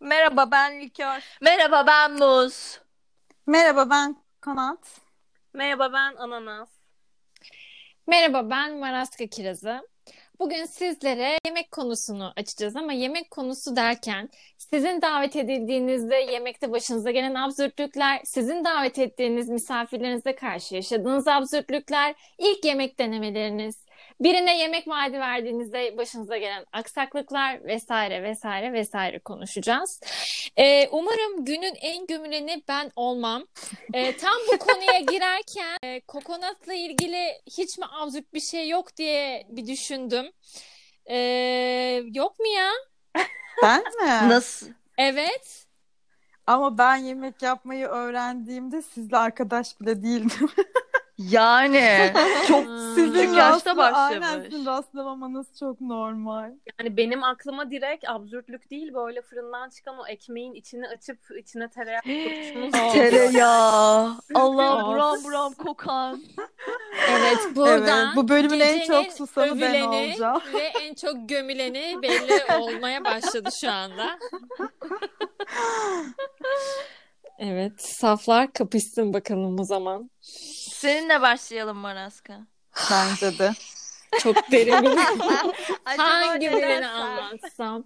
Merhaba ben Likör. Merhaba ben Muz. Merhaba ben Kanat. Merhaba ben Ananas. Merhaba ben Maraska Kirazı. Bugün sizlere yemek konusunu açacağız ama yemek konusu derken sizin davet edildiğinizde yemekte başınıza gelen absürtlükler, sizin davet ettiğiniz misafirlerinize karşı yaşadığınız absürtlükler, ilk yemek denemeleriniz, birine yemek vaadi verdiğinizde başınıza gelen aksaklıklar vesaire vesaire vesaire konuşacağız. Ee, umarım günün en gömüleni ben olmam. Ee, tam bu konuya girerken e, kokonatla ilgili hiç mi absürt bir şey yok diye bir düşündüm. Ee, yok mu ya? Ben mi? Nasıl? Evet. Ama ben yemek yapmayı öğrendiğimde sizle arkadaş bile değildim. Yani çok Hmm. Sizin Küçük yaşta rastla- Aynen başlamış. sizin rastlamamanız çok normal. Yani Hani benim aklıma direkt absürtlük değil böyle fırından çıkan o ekmeğin içini açıp içine tereyağı kurutuşunun tereyağı. Allah Of. buram buram kokan. Evet buradan evet, bu bölümün en çok gecenin susanı ben övüleni olacağım. ve en çok gömüleni belli olmaya başladı şu anda. Evet, saflar kapışsın bakalım o zaman. Seninle başlayalım Maraska. Bence de. Çok derin bir Acaba hangi neden birini sen- anlatsam?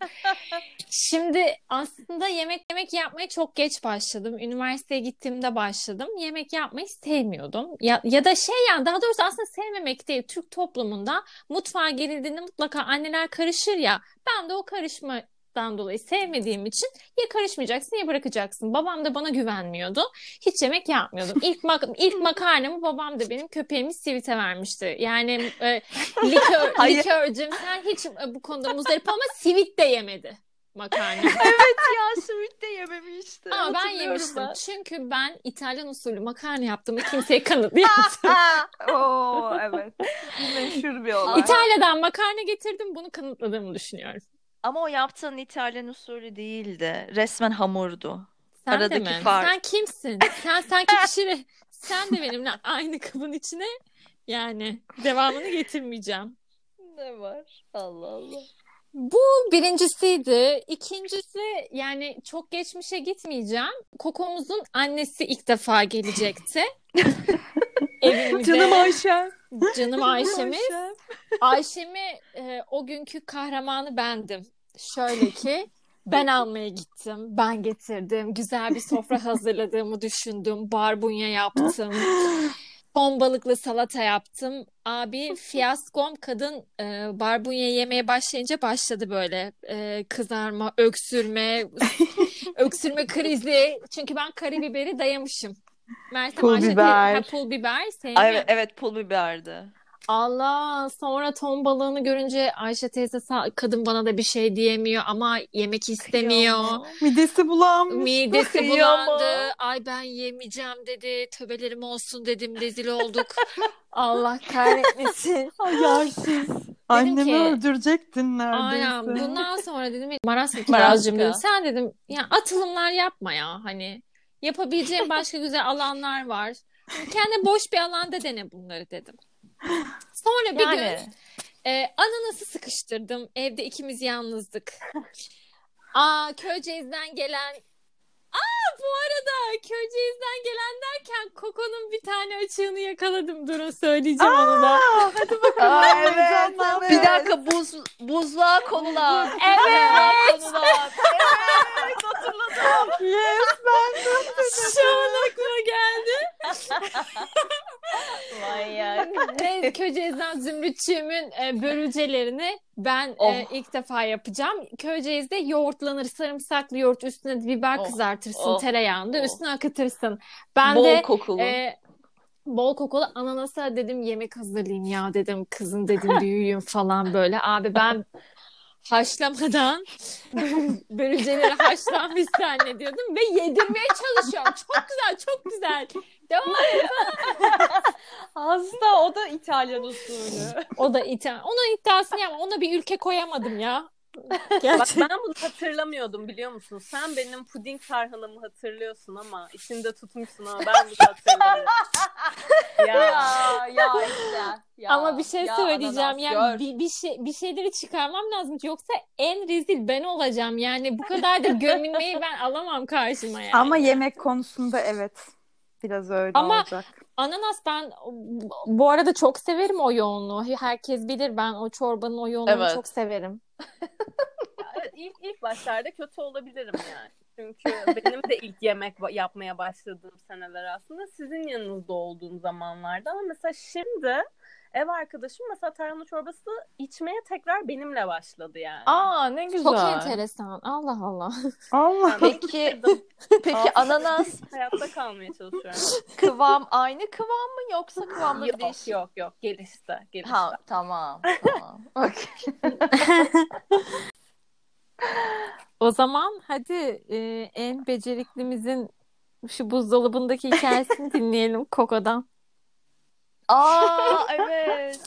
Şimdi aslında yemek yemek yapmaya çok geç başladım. Üniversiteye gittiğimde başladım. Yemek yapmayı sevmiyordum. Ya, ya da şey yani daha doğrusu aslında sevmemek değil. Türk toplumunda mutfağa girildiğinde mutlaka anneler karışır ya. Ben de o karışmadan dolayı sevmediğim için ya karışmayacaksın ya bırakacaksın. Babam da bana güvenmiyordu. Hiç yemek yapmıyordum. İlk, mak- ilk makarnamı babam da benim köpeğimi Sivit'e vermişti. Yani e, likör, Hayır. likörcüm sen hiç e, bu konuda muzdarip ama Sivit de yemedi makarna. Ya simit de yememişti. Ama ben Hatırlıyorum yemiştim. ben. Çünkü ben İtalyan usulü makarna yaptığımı kimseye kanıtlayamadım. Ha, Oo evet. Bu meşhur bir olay. İtalya'dan makarna getirdim bunu kanıtladığımı düşünüyorum. Ama o yaptığın İtalyan usulü değildi. Resmen hamurdu. Sen Aradaki de mi? fark. Sen kimsin? Sen sanki pişiri. Sen de benimle aynı kabın içine yani devamını getirmeyeceğim. Ne var? Allah Allah. Bu birincisiydi. İkincisi yani çok geçmişe gitmeyeceğim. Kokomuzun annesi ilk defa gelecekti. Evimize. Canım Ayşe. Canım Ayşe'miz. Ayşem'i e, o günkü kahramanı bendim. Şöyle ki ben almaya gittim, ben getirdim, güzel bir sofra hazırladığımı düşündüm, barbunya yaptım, ton balıklı salata yaptım. Abi fiyaskom kadın e, barbunya yemeye başlayınca başladı böyle e, kızarma, öksürme, öksürme krizi. Çünkü ben karabiberi dayamışım. Mersem Pul Ayşe diyor, biber. "Ha, pul biber Ay, sevmiyorum. evet, evet pul biberdi. Allah sonra ton balığını görünce Ayşe teyze sa- kadın bana da bir şey diyemiyor ama yemek istemiyor. Midesi bulanmış. Midesi Kıyamam. bulandı. Ay ben yemeyeceğim dedi. Töbelerim olsun dedim. Rezil olduk. Allah kahretmesin. Ay yersiz. Annemi ki- öldürecektin neredeyse. Aynen. Bundan sonra dedim Maraska Kirazcığım dedim. Sen dedim ya atılımlar yapma ya hani. Yapabileceğin başka güzel alanlar var. Kendi boş bir alanda dene bunları dedim. Sonra bir gün Yani Ee, ananası sıkıştırdım. Evde ikimiz yalnızdık. Aa Köyceğiz'den gelen Aa bu arada Köyceğiz'den gelen derken Koko'nun bir tane açığını yakaladım. Durun söyleyeceğim onu da. Aa, evet, evet, evet. Bir dakika buz, buzluğa konulan. Evet. konulan. Evet hatırladım. Yes. Şu an aklıma geldi. Ne, Köyceğiz'den Zümrütçüğüm'ün e, börülcelerini ben e, Oh. ilk defa yapacağım. Köyceğiz'de yoğurtlanır. Sarımsaklı yoğurt üstüne biber Oh, kızartırsın oh, tereyağında. oh. Üstüne akıtırsın. Ben Bol de kokulu. Ee, bol kokulu ananasa dedim yemek hazırlayayım ya dedim kızın dedim büyüyün falan böyle abi ben haşlamadan börülceleri haşlanmışsa anne diyordum ve yedirmeye çalışıyorum çok güzel çok güzel devam Aslında o da İtalyan usulü. o da iddia onun iddiasını yapma ona bir ülke koyamadım ya Bak ben bunu hatırlamıyordum biliyor musun? Sen benim puding tarhanamı hatırlıyorsun ama içinde tutmuşsun ama ben bunu hatırlamıyorum. ya. ya ya işte. Ya, Ama bir şey ya söyleyeceğim ananas, gör. yani bir, bir şey bir şeyleri çıkarmam lazım ki yoksa en rezil ben olacağım yani bu kadar da gömülmeyi ben alamam karşıma yani. Ama yemek konusunda evet. Biraz öyle Ama- olacak. Ananas ben bu arada çok severim o yoğunluğu. Herkes bilir ben o çorbanın o yoğunluğunu Evet. çok severim. Evet, ilk, ilk başlarda kötü olabilirim yani. Çünkü benim de ilk yemek ba- yapmaya başladığım seneler aslında sizin yanınızda olduğum zamanlarda. Ama mesela şimdi ev arkadaşım mesela tarhana çorbası içmeye tekrar benimle başladı yani. Aa ne güzel. Çok enteresan. Allah Allah. Allah. Yani Peki- bitirdim. Peki ananas Hayatta kalmaya çalışıyorum. kıvam aynı kıvam mı yoksa kıvamda bir yok değişim? yok yok gelişti gelişti. Ha tamam tamam. Okey. O zaman hadi e, en beceriklimizin şu buzdolabındaki hikayesini dinleyelim Koko'dan. Aa evet.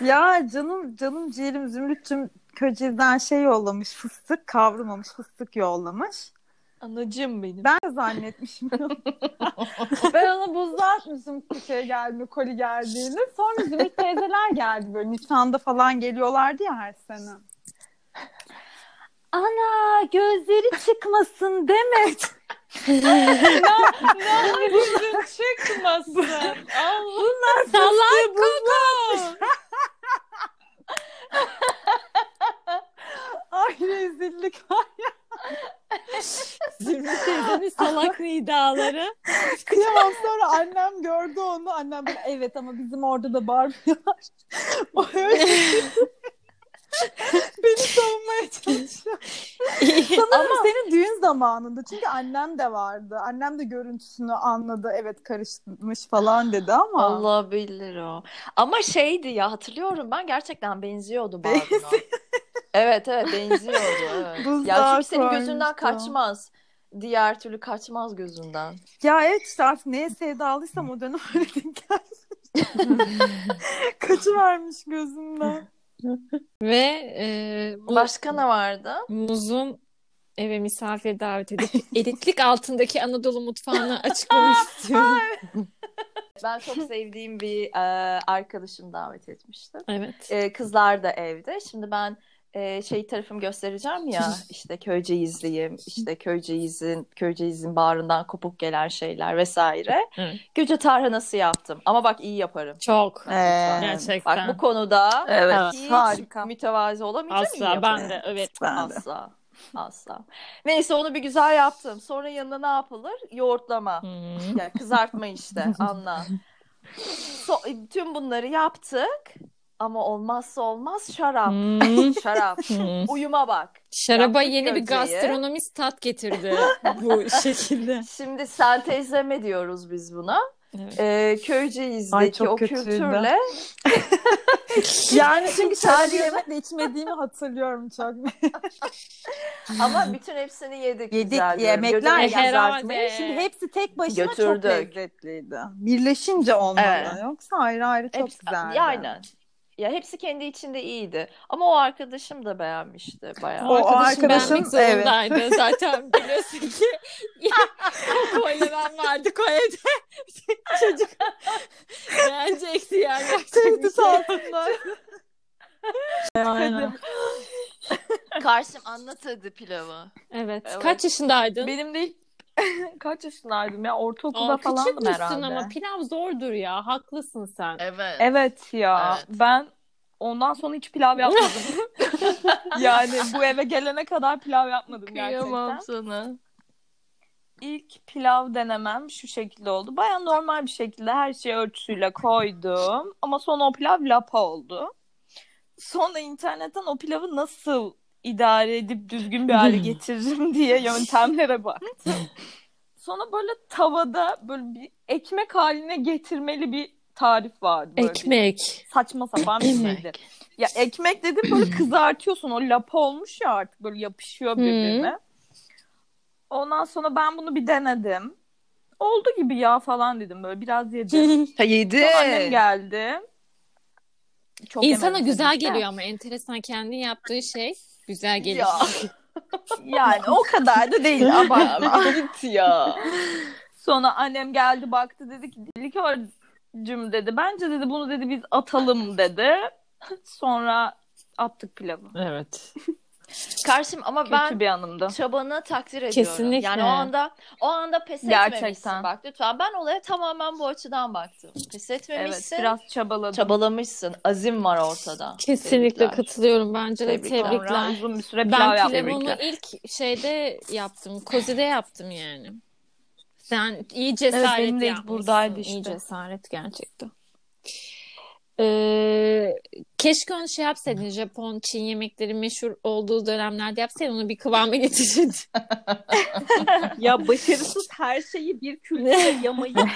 Ya canım canım ciğerim Zümrüt'cüm Köcez'den şey yollamış fıstık kavrulmamış fıstık yollamış. Anacım benim. Ben de zannetmişim. ben ona buzluğa atmışım şey geldi, koli geldiğini. Sonra Zümrüt teyzeler geldi böyle. Nisan'da falan geliyorlardı ya her sene. Ana gözleri çıkmasın Demet. Gözün çıkmasın. Allah. Salak Ay rezillik. Ay, Zümrüt teyzenin salak nidaları. Kıyamam sonra annem gördü onu. Annem böyle evet ama bizim orada da Barbie var. O öyle. şey. Beni savunmaya çalışıyor. Sanırım senin düğün zamanında. Çünkü annem de vardı. Annem de görüntüsünü anladı. Evet karışmış falan dedi ama. Allah bilir o. Ama şeydi ya hatırlıyorum ben gerçekten benziyordu Barbie'na. evet evet benziyordu. Evet. Ya Buzluğa çünkü senin gözünden koymuştu. kaçmaz. Diğer türlü kaçmaz gözünden. Ya evet işte artık neye sevdalıysam o dönem öyle denk Kaçı vermiş gözümden. Ve e, bu Başka ne vardı? muzun eve misafir davet edip elitlik altındaki Anadolu mutfağını açıklamak istiyorum. Ben çok sevdiğim bir e, arkadaşım davet etmişti. Evet. E, kızlar da evde. Şimdi ben e, şey tarafım göstereceğim ya işte köyceğizliyim, işte köyceğizin köyceğizin bağrından kopuk gelen şeyler vesaire. Evet. Göce tarhanası yaptım. Ama bak iyi yaparım. Çok. Ee, Gerçekten. Bak bu konuda Evet, hiç harika. mütevazi olamayacağım. iyi Asla yaparım. ben de evet. Ben de. Asla. Asla. Neyse onu bir güzel yaptım. Sonra yanına ne yapılır? Yoğurtlama. Hmm. Ya kızartma işte anla. So- e, tüm bunları yaptık ama olmazsa olmaz şarap. Hmm. Şarap. Hmm. Uyuma bak. Şaraba Yaptık yeni bir gölgeyi. gastronomist tat getirdi bu şekilde. Şimdi sentezleme diyoruz biz buna. Evet. Ee, köyceğizdeki Ay, çok o kötüydü. kültürle Yani çünkü şarabı Sadece- yemek de içmediğimi hatırlıyorum çok. ama bütün hepsini yedik. Yedik güzel diyorum. yemekler Götürdük. Götürdük. Herhalde. yazartmayı. Şimdi hepsi tek başına çok Götürdük. lezzetliydi. Birleşince olmalı. Evet. Yoksa ayrı ayrı çok Hepsi- güzeldi. Ya aynen. Ya hepsi kendi içinde iyiydi. Ama o arkadaşım da beğenmişti bayağı. O- o arkadaşım arkadaşım, beğenmek zorundaydı. Zaten biliyorsun ki Koyla ben vardık o evde. Çocuk beğenecekti yani. Tehdit altında. Aynen. Karşım anlatırdı pilavı. Evet. Evet. Kaç yaşındaydın? Benim değil. Kaç yaşındaydım ya? Aa, Ortaokulda küçük müsün ama pilav zordur ya. Haklısın sen. Evet. Evet ya. Evet. Ben ondan sonra hiç pilav yapmadım. yani bu eve gelene kadar pilav yapmadım gerçekten. sana. İlk pilav denemem şu şekilde oldu. Baya normal bir şekilde her şeyi ölçüsüyle koydum. Ama sonra o pilav lapa oldu. Sonra internetten o pilavı nasıl idare edip düzgün bir hale getiririm diye yöntemlere baktım. Sonra böyle tavada böyle bir ekmek haline getirmeli bir tarif vardı. Böyle bir- Ekmek. saçma sapan bir şeydi. Ya ekmek dedim böyle kızartıyorsun. O lapa olmuş ya artık böyle yapışıyor birbirine. Ondan sonra ben bunu bir denedim. Oldu gibi ya falan dedim böyle biraz yedim. Ha yedi. Sonra annem geldi. Çok İnsana yemedim güzel tabii ki. geliyor ama enteresan kendi yaptığı şey güzel geliyor. Ya. Yani o kadar da değil abartma. Git ya. Sonra annem geldi baktı dedi ki dedi ki cüm dedi. Bence dedi bunu dedi biz atalım dedi. Sonra attık pilavı. Evet. Karşım ama Kötü ben bir anımdı. çabanı takdir ediyorum. Kesinlikle. Yani o anda o anda pes etmemişsin Gerçekten. bak lütfen. Ben olaya tamamen bu açıdan baktım. Pes Evet etmemişsin. biraz çabaladım. Çabalamışsın. Azim var ortada. Kesinlikle Tebrikler. katılıyorum bence de Tebrikler. tebrikler. Sonra uzun bir süre pilav Ben yaptım. pilavımı ilk şeyde yaptım. Kozi'de yaptım yani. Sen iyi cesaret Evet, benim de ilk yapmışsın. buradaydı işte. İyi cesaret gerçekten. Ee, keşke onu şey yapsaydın. Japon, Çin yemekleri meşhur olduğu dönemlerde yapsaydın. Onu bir kıvama getirirdin. ya başarısız her şeyi bir kültüre yamayı. Değil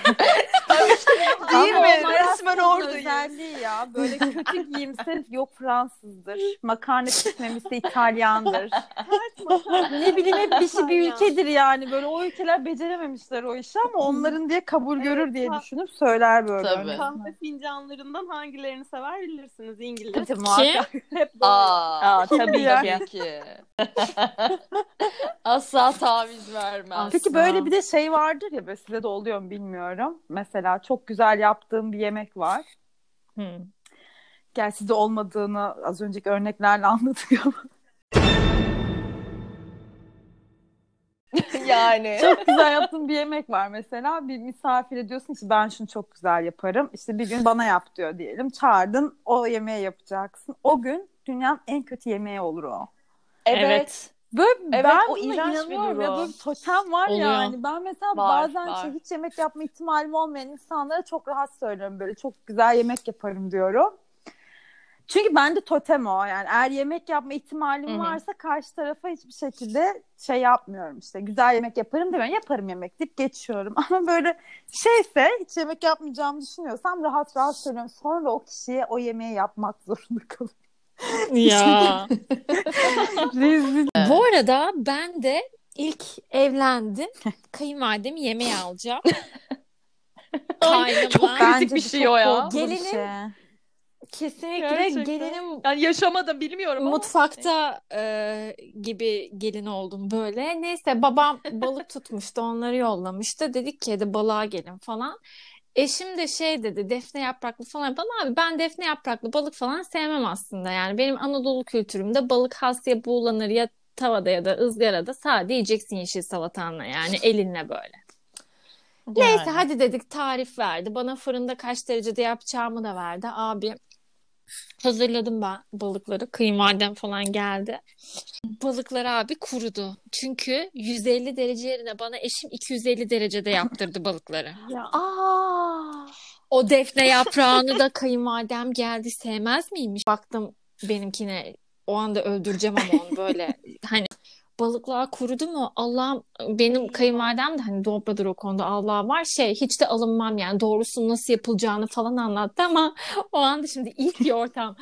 Ama mi? olmaz. Resmen oradayız. özelliği ya. Böyle kötü giyimsiz yok Fransızdır. Makarna pişmemesi İtalyandır. ne bileyim hep bir, şey- bir ülkedir yani. Böyle o ülkeler becerememişler o işi ama onların diye kabul görür diye düşünüp söyler böyle. Tabii. Kahve fincanlarından hangilerini sever bilirsiniz İngiliz. Ki- Hep böyle. Aa, Aa, tabii ki. tabii ki. Asla taviz vermez. Peki böyle bir de şey vardır ya böyle size de oluyor mu bilmiyorum. Mesela çok güzel yaptığım bir yemek var. Hı. Gerçi size olmadığını az önceki örneklerle anlatıyorum. yani. çok güzel yaptığım bir yemek var mesela. Bir misafire diyorsun ki ben şunu çok güzel yaparım. İşte bir gün bana yap diyor diyelim. Çağırdın o yemeği yapacaksın. O gün dünyanın en kötü yemeği olur o. Evet. Böyle Evet, ben o buna iğrenç bir inanıyorum durum. ya böyle bir totem var Oluyor. yani. Ben mesela Var, bazen var. şey, hiç yemek yapma ihtimalim olmayan insanlara çok rahat söylüyorum böyle çok güzel yemek yaparım diyorum. Çünkü bende totem o yani eğer yemek yapma ihtimalim Hı hı. varsa karşı tarafa hiçbir şekilde şey yapmıyorum işte güzel yemek yaparım demiyorum yaparım yemek deyip geçiyorum ama böyle şeyse hiç yemek yapmayacağımı düşünüyorsam rahat rahat söylüyorum sonra o kişiye o yemeği yapmak zorunda kalıyorum. Ya. Rezil. Bu arada ben de ilk evlendim. Kayınvalidemi yemeğe alacağım. Kaynama. Bence bir bu şey çok o ya. korkunç bir Gelinim- şey. Kesinlikle Gerçekten. gelinim Yani yaşamadım bilmiyorum ama. Mutfakta e, gibi gelin oldum böyle. Neyse babam balık tutmuştu onları yollamıştı. Dedik ki hadi balığa gelin falan. Eşim de şey dedi defne yapraklı falan. Ben abi ben defne yapraklı balık falan sevmem aslında. Yani benim Anadolu kültürümde balık has ya buğulanır ya tavada ya da ızgarada sade yiyeceksin yeşil salatanla yani elinle böyle. Neyse hadi dedik tarif verdi. Bana fırında kaç derecede yapacağımı da verdi. Abi hazırladım ben balıkları. Kıymadem falan geldi. Balıklar abi kurudu. Çünkü 150 derece yerine bana eşim 250 derecede yaptırdı balıkları. Aa. O defne yaprağını da kayınvalidem geldi sevmez miymiş? Baktım benimkine o anda öldüreceğim ama onu böyle hani balıklar kurudu mu Allah'ım benim kayınvalidem de hani dobradır o konuda Allah var şey hiç de alınmam yani doğrusu nasıl yapılacağını falan anlattı ama o anda şimdi ilk bir ortam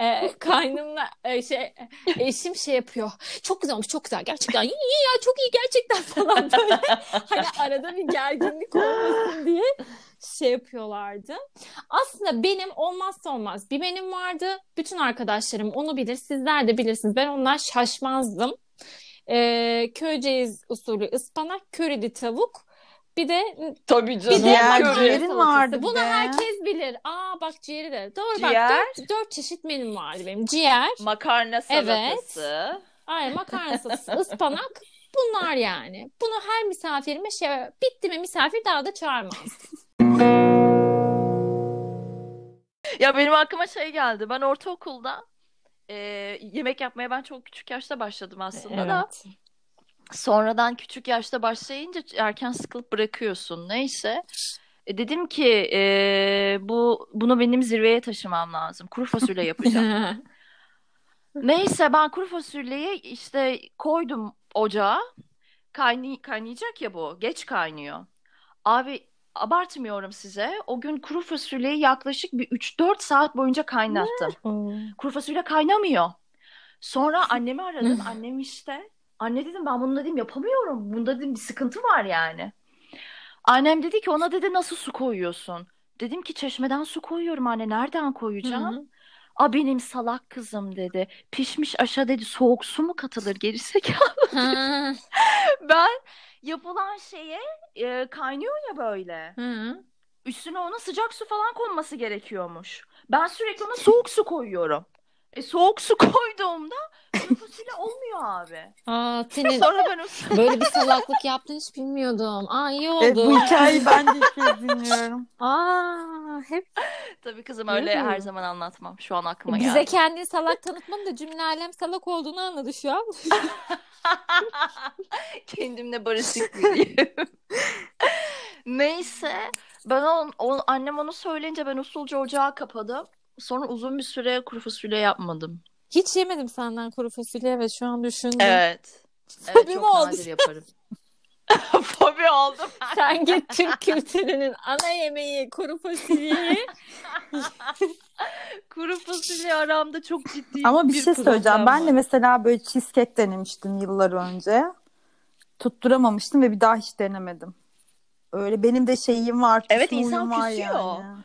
Ee, kaynımla e, şey eşim şey yapıyor çok güzel olmuş çok güzel gerçekten iyi iyi ya çok iyi gerçekten falan böyle hani arada bir gerginlik olmasın diye şey yapıyorlardı. Aslında benim olmazsa olmaz bir benim vardı. Bütün arkadaşlarım onu bilir. Sizler de bilirsiniz. Ben ondan şaşmazdım. Ee, Köyceğiz usulü ıspanak, körili tavuk. Bir de Tabii bir canım. de Ciğer, makarna ciğerin vardı salatası. Bunu be. herkes bilir. Aa bak ciğeri de. Doğru Ciğer. bak dört, dört çeşit menüm vardı benim. Ciğer, Makarna salatası. ay makarna salatası, ıspanak. Bunlar yani. Bunu her misafirime şey bitti mi misafir daha da çağırmaz. Ya benim aklıma şey geldi. Ben ortaokulda e, yemek yapmaya ben çok küçük yaşta başladım aslında da. Sonradan küçük yaşta başlayınca erken sıkılıp bırakıyorsun. Neyse. E, dedim ki e, bu bunu benim zirveye taşımam lazım. Kuru fasulye yapacağım. Neyse ben kuru fasulyeyi işte koydum ocağa. Kaynay kaynayacak ya bu. Geç kaynıyor. Abi abartmıyorum size. O gün kuru fasulyeyi yaklaşık bir 3-4 saat boyunca kaynattım. Kuru fasulye kaynamıyor. Sonra annemi aradım. Annem işte. Anne dedim ben bunu dedim yapamıyorum. Bunda dedim bir sıkıntı var yani. Annem dedi ki ona dedi nasıl su koyuyorsun? Dedim ki çeşmeden su koyuyorum anne. Nereden koyacağım? A benim salak kızım dedi. Pişmiş aşa dedi. Soğuk su mu katılır gerizekalı? Ha, Ben yapılan şeye e, kaynıyor ya böyle. ha. Üstüne onun sıcak su falan konması gerekiyormuş. Ben sürekli ona soğuk su koyuyorum. E soğuk su koyduğumda kuru fasulye olmuyor abi. Aa senin Sonra E, ben o böyle bir salaklık yaptığını hiç bilmiyordum. Aa iyi Evet, oldu. E, bu hikayeyi ben de ilk kez dinliyorum. Aa hep Tabii kızım öyle her zaman anlatmam. Şu an aklıma bize geldi. kendini salak tanıtmanın da cümle alem salak olduğunu anladı şu an. Kendimle barışık biriyim. Neyse ben on, on- annem onu söyleyince ben usulca ocağı kapadım. Sonra uzun bir süre kuru fasulye yapmadım. Hiç yemedim senden kuru fasulye ve şu an düşündüm. Evet. Evet Fobi mi çok oldu? nadir yaparım. Fobi oldum. Sen git Türk kültürünün ana yemeği kuru fasulyeyi. Kuru fasulye aramda çok ciddi Ama bir şey problem söyleyeceğim. Ben var. de mesela böyle cheesecake denemiştim yıllar önce. Tutturamamıştım ve bir daha hiç denemedim. Öyle benim de şeyim var. Evet, kusmuyum insan var küsüyor. yani.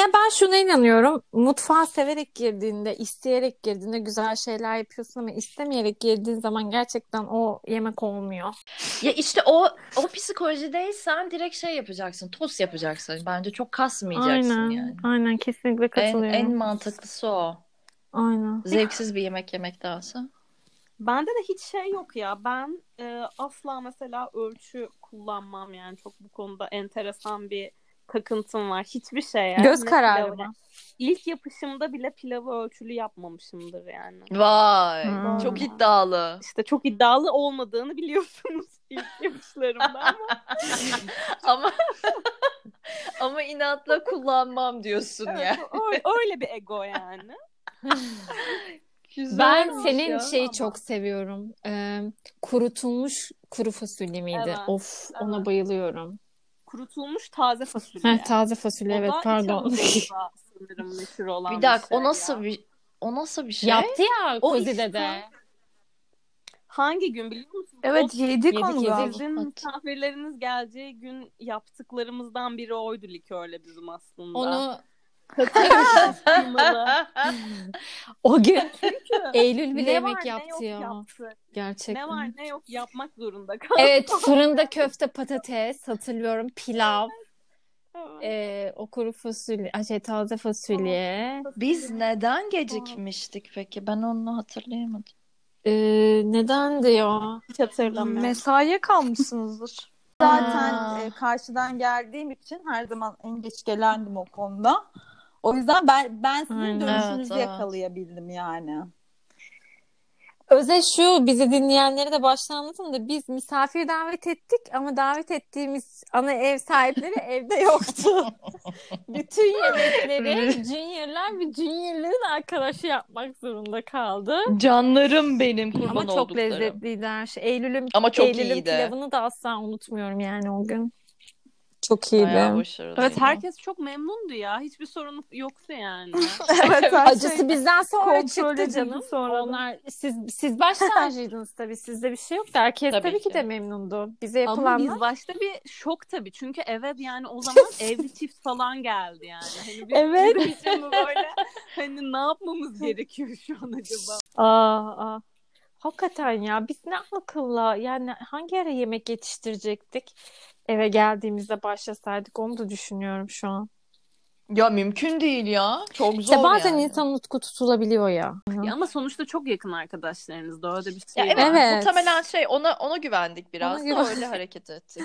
ya ben şuna inanıyorum. Mutfağa severek girdiğinde, isteyerek girdiğinde güzel şeyler yapıyorsun ama istemeyerek girdiğin zaman gerçekten o yemek olmuyor. Ya işte o o psikolojideysen direkt şey yapacaksın. Tost yapacaksın. Bence çok kasmayacaksın Aynen. yani. Aynen kesinlikle En, katılıyorum. en mantıklısı o. Aynen. Zevksiz bir yemek yemektense. Bende de hiç şey yok ya. Ben e, asla mesela ölçü kullanmam yani. Çok bu konuda enteresan bir takıntım var. Hiçbir şey yani. Göz Ne kararı pilavı- mı? İlk yapışımda bile pilavı ölçülü yapmamışımdır yani. Vay. Hmm. Çok iddialı. İşte çok iddialı olmadığını biliyorsunuz ilk yapışlarımda ama ama ama inatla kullanmam diyorsun ya. evet, o- öyle, öyle bir ego yani. Ben Güzelmiş senin ya. şeyi ama. çok seviyorum. Ee, kurutulmuş kuru fasulye miydi? Evet, of ona evet. bayılıyorum. Kurutulmuş taze fasulye. Heh, taze fasulye O evet da İç pardon. Anadolu'da sanırım meşhur olan bir dakika şey o nasıl ya. bir o nasıl bir şey? Yaptı ya O Kozi'de işte. de. Hangi gün biliyor musunuz? Evet yedik Yedik, onu yedik. galiba. Sizin Hat- misafirleriniz geleceği gün yaptıklarımızdan biri oydu likörle bizim aslında. Onu Kıymalı. o gün Eylül bile Ne yemek var, ne yok yaptı ya. yaptı. Gerçekten. Ne var ne yok yapmak zorunda kaldı. Evet fırında köfte patates hatırlıyorum pilav Evet. e, o kuru fasulye ay şey, taze fasulye Biz neden gecikmiştik peki? Ben onu hatırlayamadım. e, neden diyor Hiç hatırlamıyorum. Mesaiye kalmışsınızdır. Zaten Aa. e, karşıdan geldiğim için her zaman en geç gelendim o konuda. O yüzden ben ben sizin Aynen, dönüşünüzü evet, evet. yakalayabildim yani. Öze şu bizi dinleyenlere de baştan anlatayım da biz misafir davet ettik ama davet ettiğimiz ana ev sahipleri evde yoktu. Bütün yemekleri Junior'lar ve Junior'ların arkadaşı yapmak zorunda kaldı. Canlarım benim kurban ama çok lezzetliydi her şey. Eylül'ün, Ama çok Eylül'ün iyiydi. pilavını da asla unutmuyorum yani o gün. Çok iyiydi. Evet herkes çok memnundu ya. Hiçbir sorun yoktu yani. evet, her Acısı şey- bizden sonra kontrol çıktı edildi canım. sonradan. Onlar siz siz baş tacıydınız tabii. Sizde bir şey yoktu. Herkes tabii, Tabii ki ki. de memnundu. Bize Ama yapılanlar. biz başta bir şok tabii. Çünkü eve yani o zaman evli çift falan geldi yani. Hani bir, Evet. bizim için bu böyle hani ne yapmamız gerekiyor şu an acaba? Aa, aa. Ah, Hakikaten ya biz ne akılla yani hangi ara yemek yetiştirecektik eve geldiğimizde başlasaydık onu da düşünüyorum şu an. Ya mümkün değil ya. Çok zor İşte bazen yani. insan utku tutulabiliyor ya. Ya ama sonuçta çok yakın arkadaşlarınız da öyle bir Ya şey evet, var. Evet. muhtemelen şey ona ona güvendik biraz Ona da güven- öyle hareket ettik.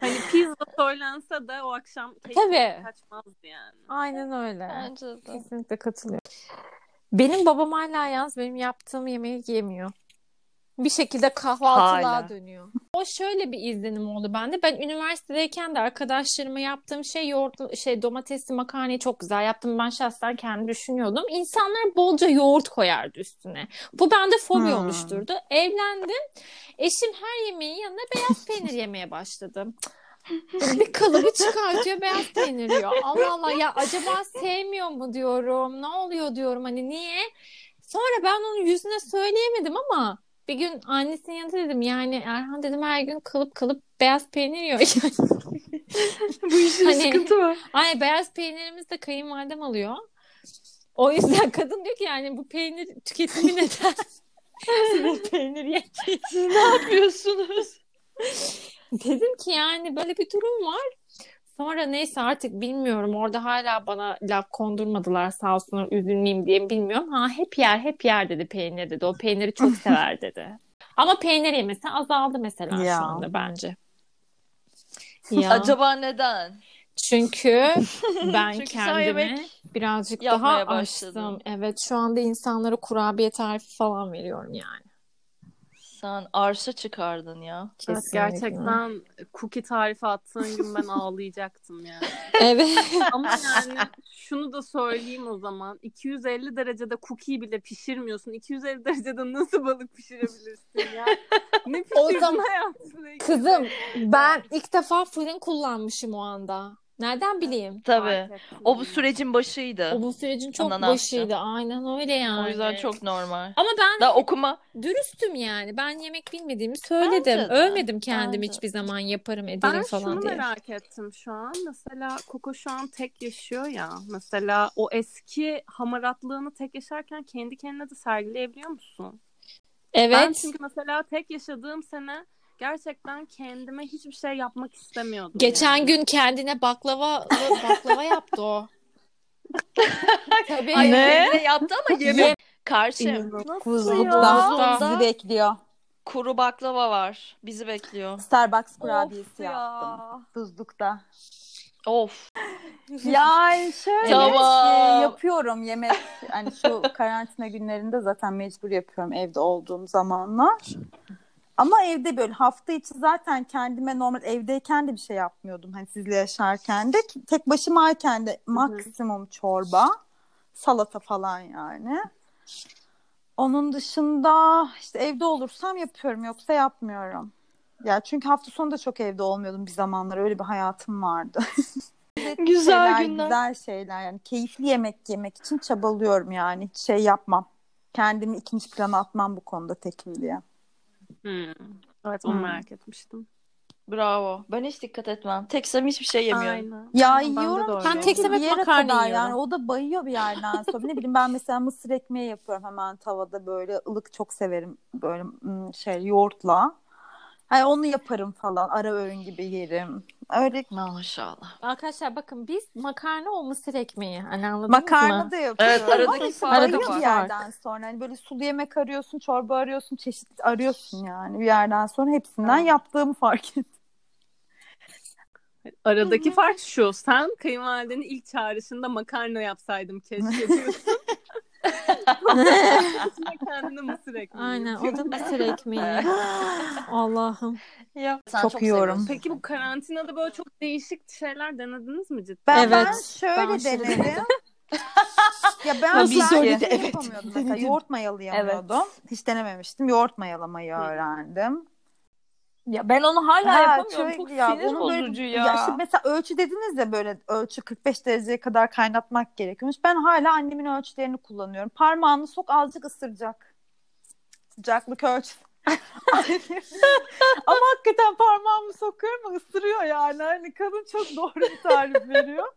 Hani pizza söylense de o akşam keyif Tabii. kaçmazdı yani. Aynen öyle. Bence de. Kesinlikle katılıyorum. Benim babam hala yalnız benim yaptığım yemeği yemiyor. Bir şekilde kahvaltılığa Hala. dönüyor. O şöyle bir izlenim oldu bende. Ben üniversitedeyken de arkadaşlarıma yaptığım şey yoğurt, şey domatesli makarnayı çok güzel yaptım. Ben şahsen kendim düşünüyordum. İnsanlar bolca yoğurt koyardı üstüne. Bu bende fobi Hmm. oluşturdu. Evlendim. Eşim her yemeğin yanına beyaz peynir yemeye başladı. Bir kalıbı çıkartıyor beyaz peynir yiyor. Allah Allah ya acaba sevmiyor mu diyorum. Ne oluyor diyorum hani niye? Sonra ben onun yüzüne söyleyemedim ama bir gün annesinin yanında dedim yani Erhan dedim her gün kalıp kalıp beyaz peynir yiyor. Bu işin Hani- sıkıntı var. Ay beyaz peynirimiz de kayınvalidem alıyor. O yüzden kadın diyor ki yani bu peynir tüketimi neden? Sinir peynir ye. Siz ne yapıyorsunuz? Dedim ki yani böyle bir durum var. Sonra neyse artık bilmiyorum orada hala bana laf kondurmadılar sağ olsunlar üzülmeyeyim diye bilmiyorum. Ha hep yer hep yer dedi peynir dedi. O peyniri çok sever dedi. Ama peynir yemesi azaldı mesela Ya. şu anda bence. Ya. Acaba neden? Çünkü ben Çünkü sen kendimi yemek birazcık daha yapmaya açtım. başladın. Evet şu anda insanlara kurabiye tarifi falan veriyorum yani. Sen arsa çıkardın ya. Evet, Kesinlikle. gerçekten cookie tarifi attığın gün ben ağlayacaktım yani. Evet. Ama yani şunu da söyleyeyim o zaman. 250 derecede cookie bile pişirmiyorsun. 250 derecede nasıl balık pişirebilirsin ya? Ne O pişirdin zaman- hayatında? Kızım ben ilk defa fırın kullanmışım o anda. Nereden bileyim? Tabii. Fark O bu ettim. sürecin başıydı. O bu sürecin çok Ondan ne başıydı. Aynen öyle yani. O yüzden çok normal. Ama ben Daha okuma dürüstüm yani. Ben yemek bilmediğimi söyledim. Bence de. Övmedim kendimi Bence. hiçbir zaman yaparım ederim Ben falan şunu diye. merak ettim şu an. Mesela Koko şu an tek yaşıyor ya. Mesela o eski hamaratlığını tek yaşarken kendi kendine de sergileyebiliyor musun? Ben Evet. çünkü mesela tek yaşadığım sene gerçekten kendime hiçbir şey yapmak istemiyordum. Geçen yani. gün kendine baklava baklava yaptı o. Tabii. Ay, Ne? kendine yaptı ama yemek. Karşı ya? Kuzluk'tan bizi bekliyor. kuru baklava var. Bizi bekliyor. Starbucks Of kurabiyesi ya. yaptım. Kuzluk'ta. Of. Yani şöyle Tamam. e, yapıyorum yemek. Hani şu karantina günlerinde zaten mecbur yapıyorum evde olduğum zamanlar. Ama evde böyle hafta içi zaten kendime normal evdeyken de bir şey yapmıyordum. Hani sizle yaşarken de tek başımayken de maksimum çorba, salata falan yani. Onun dışında işte evde olursam yapıyorum yoksa yapmıyorum. Ya çünkü hafta sonu da çok evde olmuyordum bir zamanlar. Öyle bir hayatım vardı. Güzel şeyler, günler. Güzel şeyler yani keyifli yemek yemek için çabalıyorum yani. Hiç şey yapmam. Kendimi ikinci plana atmam bu konuda tekim diye. Hmm. Evet onu Hmm. merak etmiştim. Bravo. Ben hiç dikkat etmem. Teksem hiçbir şey yemiyorum. Aynen. Ya Aynen, ben de yiyorum doğru. Ben çünkü tek sepet bir yere makarna kadar yiyorum. yani o da bayıyor bir yerden sonra. ne bileyim ben mesela mısır ekmeği yapıyorum hemen tavada böyle ılık çok severim böyle mm, şey yoğurtla. Hani onu yaparım falan ara öğün gibi yerim. Öyle Maşallah. Arkadaşlar bakın biz makarna o mısır ekmeği. Hani anladınız makarna mı? da yapıyorum. Evet aradaki Ama işte fark aradaki bayıyor var. bir yerden sonra. Hani böyle sulu yemek arıyorsun, çorba arıyorsun, çeşit arıyorsun yani. Bir yerden sonra hepsinden yaptığımı fark ettim. Aradaki fark şu. Sen kayınvalidenin ilk çağrışında makarna yapsaydım keşke diyorsun. Sonra kendine mısır ekmeği Aynen yapıyorsun. o da mısır ekmeği. Allah'ım. Ya, sen Çok yiyorum. seviyorsun. Peki bu karantinada böyle çok değişik şeyler denediniz mi cidden? Ben, ben Evet, şöyle ben aşırı denedim. ya ben Nasıl ben söyledi? şey yapamıyordum mesela. Yoğurt mayalayamıyordum. Hiç denememiştim. Yoğurt mayalamayı öğrendim. Ya ben onu hala Ha, yapamıyorum. şöyle Çok ya, sinir onun böyle- bozucu Ya. şimdi mesela ölçü dediniz ya böyle ölçü 45 dereceye kadar kaynatmak gerekiyormuş. Ben hala annemin ölçülerini kullanıyorum. Parmağını sok azıcık ısıracak. Sıcaklık ölçüsü. Ama hakikaten parmağımı sokuyorum ama ısırıyor yani. Hani kadın çok doğru bir tarif veriyor.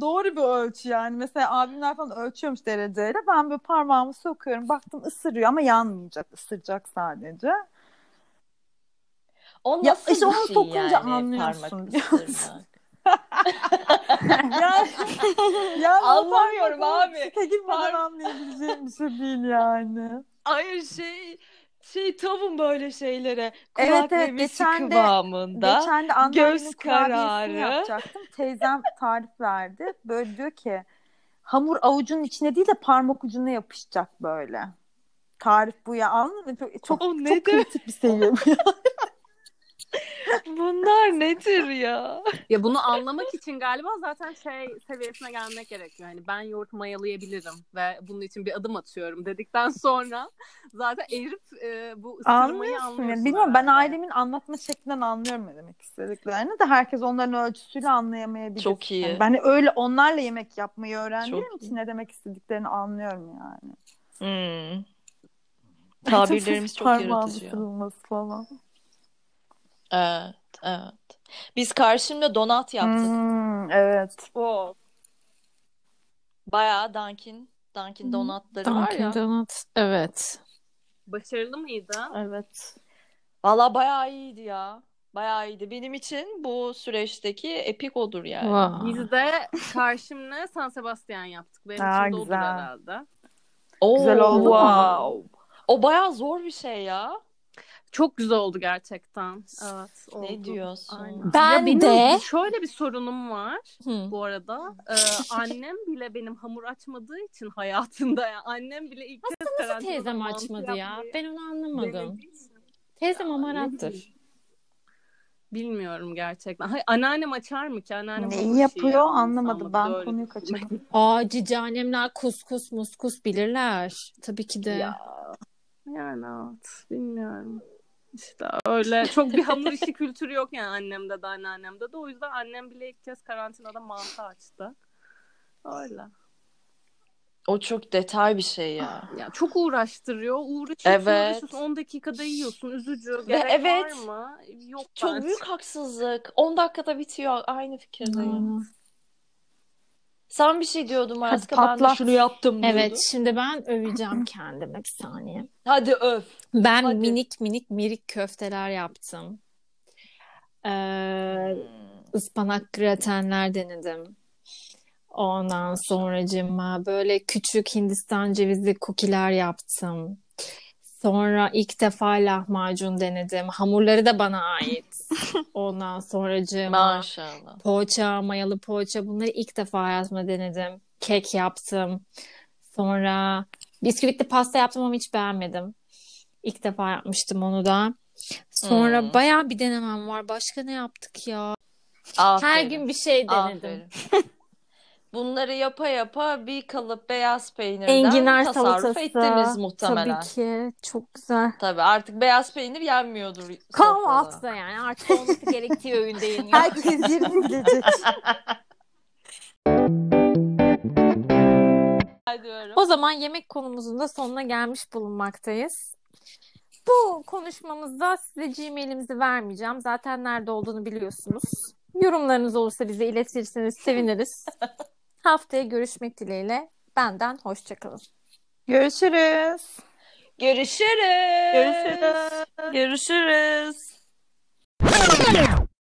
Doğru bir ölçü yani. Mesela abimler falan ölçüyormuş dereceyle. Ben böyle parmağımı sokuyorum. Baktım ısırıyor ama yanmayacak. ısıracak sadece. O Ya, nasıl işte bir onu şey sokunca yani, anlıyorsun, parmak biliyor musun? ısırmak? yani, yani Anlamıyorum parmak abi. Site gitmeden anlayabileceğim bir şey değil yani. Hayır şey şey tavım böyle şeylere kulak Evet, evet, evet, geçen de- kıvamında. Geçen de anneannemin göz kurabiyesini kararı. yapacaktım. Teyzem tarif verdi. Böyle diyor ki hamur avucunun içine değil de parmak ucuna yapışacak böyle. Tarif bu ya anladın mı? Çok, çok, O çok nedir? kritik bir şey. seviye bu ya. Bunlar nedir ya? Ya bunu anlamak için galiba zaten şey seviyesine gelmek gerekiyor. Hani ben yoğurt mayalayabilirim ve bunun için bir adım atıyorum dedikten sonra zaten erip e, bu ısırmayı Anlıyorsun anlıyorsun. yani. Bilmiyorum ben herhalde. ailemin anlatma şeklinden anlıyorum ne demek istediklerini de herkes onların ölçüsüyle anlayamayabilir. Çok iyi. Yani ben öyle onlarla yemek yapmayı öğrendiğim Çok iyi. için ne demek istediklerini anlıyorum yani. Hmm. Tabirlerimiz çok Parmağın yaratıcı ya. ısırılması falan. Evet, evet. Biz karşımda donat yaptık. Hmm, evet. Oo. Bayağı Dunkin, Dunkin donatları var Dunkin ya. Donut. Evet. Başarılı mıydı? Evet. Valla bayağı iyiydi ya. Bayağı iyiydi. Benim için bu süreçteki epik odur yani. Wow. Biz de karşımla San Sebastian yaptık. Benim Aa, için de odur güzel. herhalde. Oo, Güzel oldu. wow. O bayağı zor bir şey ya. Çok güzel oldu gerçekten. Evet, oldu. Ne diyorsun? Aynen. Ben ya benim de- şöyle bir sorunum var Hı. bu arada. Ee, annem bile benim hamur açmadığı için hayatında ya. Annem bile ilk kez Nasıl karantinada teyzem mantı açmadı ya? yapmayı Ben onu anlamadım. denediği için Teyzem ne amarattır. bileyim. Bilmiyorum gerçekten. Hay, anneannem açar mı ki? Anneannem hamur Neyi işi yapıyor yapan anlamadım. sanmadı, Ben öyle. konuyu kaçırdım. Aa cicanemler kuskus muskus bilirler. Tabii ki de. Ya. Yani evet. Bilmiyorum. İşte öyle çok bir hamur işi kültürü yok yani annemde de anneannemde de. O yüzden annem bile ilk kez karantinada mantı açtı. Öyle. O çok detay bir şey ya. Ah, Ya çok uğraştırıyor. Uğraşıyorsun, Evet. uğraşıyorsun. 10 dakikada yiyorsun. Üzücü. Ve Gerek evet. var mı? Yok Çok bence. büyük haksızlık. 10 dakikada bitiyor. Aynı fikirdeyim. Aynen. Sen bir şey diyordun Mariska. Ben de patlat. şunu yaptım diyordun. Evet şimdi ben öveceğim kendime bir saniye. Hadi öf. Ben Hadi. minik minik mirik köfteler yaptım. Ee, ıspanak gratenler denedim. Ondan sonracığıma böyle küçük Hindistan cevizli kukiler yaptım. Sonra ilk defa lahmacun denedim. Hamurları da bana ait. Ondan sonracığıma Maşallah. poğaça, mayalı poğaça bunları ilk defa hayatımda denedim. Kek yaptım. Sonra bisküvitli pasta yaptım ama hiç beğenmedim. İlk defa yapmıştım onu da. Sonra Hmm. bayağı bir denemem var. Başka ne yaptık ya? Aferin. Her gün bir şey denedim. Aferin. Bunları yapa yapa bir kalıp beyaz peynirden Enginar tasarruf salatası. ettiniz muhtemelen. Tabii ki. Çok güzel. Tabii artık beyaz peynir yenmiyordur. sofrada. Kahvaltıda yani. Artık olması gerektiği öğünde yeniyor. Herkes yerini bilecek. O zaman yemek konumuzun da sonuna gelmiş bulunmaktayız. Bu konuşmamızda size Gmail'imizi vermeyeceğim. Zaten nerede olduğunu biliyorsunuz. Yorumlarınız olursa bize iletirseniz seviniriz. Haftaya görüşmek dileğiyle. Benden hoşçakalın. Görüşürüz. Görüşürüz. Görüşürüz. Görüşürüz.